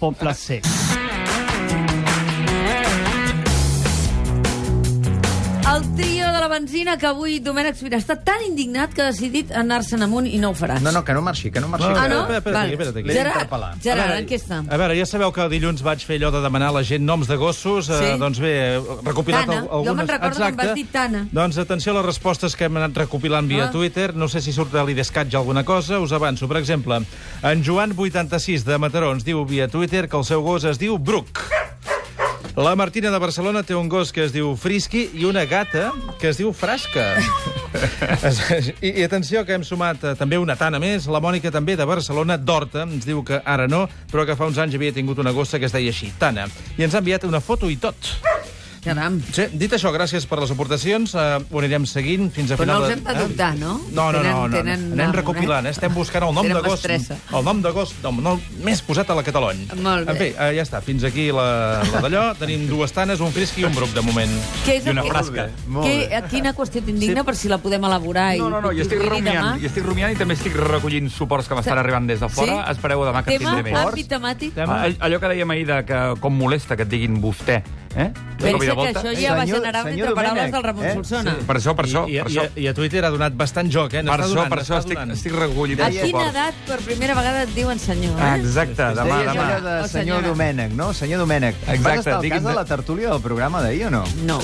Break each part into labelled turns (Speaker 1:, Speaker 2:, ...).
Speaker 1: Poble sec.
Speaker 2: El trio de la benzina que avui Domènec Sobirà està tan indignat que ha decidit anar-se'n amunt i no ho faràs.
Speaker 3: No, no, que no marxi, que no marxi.
Speaker 2: Ah, no?
Speaker 4: Eh, Espera, espera,
Speaker 2: Val.
Speaker 4: espera, espera.
Speaker 3: L'he
Speaker 2: Gerard,
Speaker 3: d'interpel·lar.
Speaker 4: A
Speaker 2: Gerard,
Speaker 4: veure, eh,
Speaker 2: enquesta.
Speaker 4: A veure, ja sabeu que dilluns vaig fer allò de demanar a la gent noms de gossos.
Speaker 2: Sí.
Speaker 4: Eh, doncs bé, he recopilat
Speaker 2: Tana.
Speaker 4: al-
Speaker 2: Jo
Speaker 4: algunes...
Speaker 2: me'n recordo que em
Speaker 4: Exacte.
Speaker 2: vas dir Tana.
Speaker 4: Doncs atenció a les respostes que hem anat recopilant via
Speaker 2: Ah.
Speaker 4: Twitter. No sé si surt de l'Idescatge alguna cosa. Us avanço. Per exemple, en Joan86 de Mataró ens diu via Twitter que el seu gos es diu Bruc. La Martina de Barcelona té un gos que es diu Frisky i una gata que es diu Frasca. I, I atenció, que hem sumat eh, també una tana més. La Mònica, també de Barcelona, d'Horta, ens diu que ara no, però que fa uns anys havia tingut una gossa que es deia així, Tana. I ens ha enviat una foto i tot.
Speaker 2: Caram.
Speaker 4: Sí, dit això, gràcies per les aportacions. Uh, ho anirem seguint fins a
Speaker 2: Però no
Speaker 4: final...
Speaker 2: els
Speaker 4: de- Eh?
Speaker 2: hem de dubtar, no?
Speaker 4: No, no,
Speaker 2: Tenen-
Speaker 4: no. no,
Speaker 2: tenen
Speaker 4: no.
Speaker 2: nom,
Speaker 4: Anem recopilant, eh? Estem buscant el nom
Speaker 2: Tenen
Speaker 4: de gos...
Speaker 2: mestressa.
Speaker 4: El nom de gos no, no, més posat a la Catalunya.
Speaker 2: Molt bé.
Speaker 4: En fi, uh, ja està. Fins aquí la, la d'allò. Tenim dues tanes, un frisc i un bruc, de moment.
Speaker 2: Què és
Speaker 5: I
Speaker 2: el
Speaker 5: una
Speaker 2: que-
Speaker 5: frasca.
Speaker 3: Molt
Speaker 2: Què-
Speaker 3: bé.
Speaker 2: a quina qüestió t'indigna per si la podem elaborar? i-
Speaker 5: No, no, no, jo estic
Speaker 2: i demà?
Speaker 5: rumiant, jo estic rumiant i també estic recollint suports que m'estan arribant des de fora.
Speaker 2: Sí?
Speaker 5: Espereu demà que en
Speaker 2: Tema,
Speaker 5: tindré més.
Speaker 2: àmbit temàtic?
Speaker 5: Ah, all- Allò que dèiem ahir de que com molesta que et diguin vostè, eh? De cop i
Speaker 2: Pensa que
Speaker 5: de volta.
Speaker 2: això ja va
Speaker 3: Senyor-
Speaker 2: generar un
Speaker 3: senyor
Speaker 2: entre paraules
Speaker 3: Domènech,
Speaker 2: del Ramon
Speaker 3: eh?
Speaker 2: Solsona.
Speaker 5: Per això, per això,
Speaker 4: I, i,
Speaker 5: per
Speaker 4: i,
Speaker 5: això.
Speaker 4: I a Twitter ha donat bastant joc, eh?
Speaker 5: Per
Speaker 4: N'està
Speaker 5: això,
Speaker 4: donant,
Speaker 5: per això
Speaker 4: n'està
Speaker 5: estic,
Speaker 4: donant.
Speaker 5: estic recollint
Speaker 2: A quina
Speaker 5: suports.
Speaker 2: edat per primera vegada et diuen senyor?
Speaker 5: Ah,
Speaker 2: Eh?
Speaker 5: Exacte,
Speaker 3: Es
Speaker 5: demà,
Speaker 3: deia
Speaker 5: demà.
Speaker 3: allò de
Speaker 2: Oh,
Speaker 3: senyor
Speaker 2: senyora.
Speaker 3: Domènec, no? Senyor Domènec,
Speaker 5: Exacte,
Speaker 3: vas estar al cas
Speaker 5: digui'm
Speaker 3: de
Speaker 5: de-
Speaker 3: la tertúlia del programa d'ahir o no?
Speaker 2: No.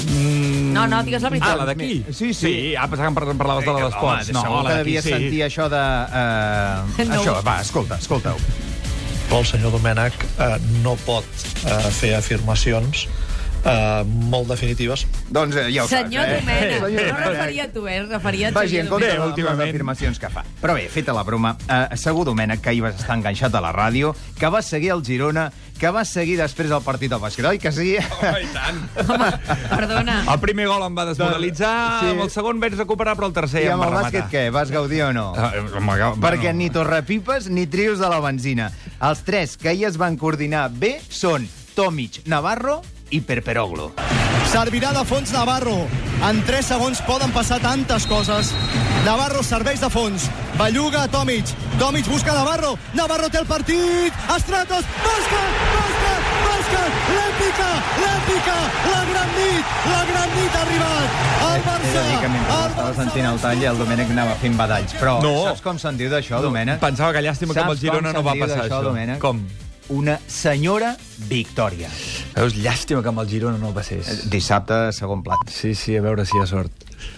Speaker 2: No, no, digues la veritat.
Speaker 5: Ah, la d'aquí?
Speaker 3: Sí, sí.
Speaker 5: sí ah, pensava que em parlaves de la d'esports. No,
Speaker 3: Segur
Speaker 5: la
Speaker 3: que
Speaker 5: d'aquí,
Speaker 3: devies
Speaker 5: sí.
Speaker 3: sentir això de... Eh,
Speaker 2: No.
Speaker 3: Això, va, escolta, escolta-ho.
Speaker 6: però el senyor Domènech eh, no pot eh, fer afirmacions eh, molt definitives
Speaker 3: Doncs eh, ja ho
Speaker 2: Senyor
Speaker 3: saps, eh?
Speaker 2: Domènech. No
Speaker 3: Senyor Domènech.
Speaker 2: referia a tu, eh? Referia a
Speaker 3: Vagi en
Speaker 2: senyor
Speaker 3: compte
Speaker 2: Domènech.
Speaker 3: de les afirmacions que fa. Però bé, feta la broma, eh, segur, Domènec, que ahir vas estar enganxat a la ràdio, que vas seguir el Girona, que vas seguir després el partit del basquetbol, i que sí...
Speaker 2: Home, perdona.
Speaker 5: El primer gol em va desmoralitzar,
Speaker 3: Sí.
Speaker 5: amb el segon vaig recuperar, però el tercer
Speaker 3: I
Speaker 5: ja em
Speaker 3: amb
Speaker 5: va
Speaker 3: el bàsquet,
Speaker 5: rematar.
Speaker 3: què? Vas gaudir o no?
Speaker 5: Ah, eh, home, que-
Speaker 3: Perquè
Speaker 5: bueno.
Speaker 3: ni torrepipes ni trios de la benzina. Els tres que ahir es van coordinar bé són Tomic, Navarro i Perperoglu.
Speaker 7: Servirà de fons Navarro. En 3 segons poden passar tantes coses. Navarro serveix de fons. Belluga a Tomic. Tomic busca Navarro. Navarro té el partit. Estratos. Bàsquet! Bàsquet! Bàsquet! L'èpica! L'èpica! La gran nit! La gran nit ha arribat! El
Speaker 3: He de
Speaker 7: Barça!
Speaker 3: dir que mentre
Speaker 7: el
Speaker 3: estava
Speaker 7: Barça
Speaker 3: sentint el tall, el Domènec anava fent badalls. Però
Speaker 5: No.
Speaker 3: saps com se'n diu d'això, Domènec?
Speaker 5: Pensava que llàstima que amb el
Speaker 3: Saps
Speaker 5: Girona
Speaker 3: com
Speaker 5: no va
Speaker 3: se'n diu
Speaker 5: passar
Speaker 3: d'això,
Speaker 5: això.
Speaker 3: Domènec?
Speaker 5: Com?
Speaker 3: Una senyora victòria.
Speaker 5: Veus, llàstima que amb el Girona no passés.
Speaker 3: Dissabte, segon plat.
Speaker 5: Sí, sí, a veure si hi ha sort.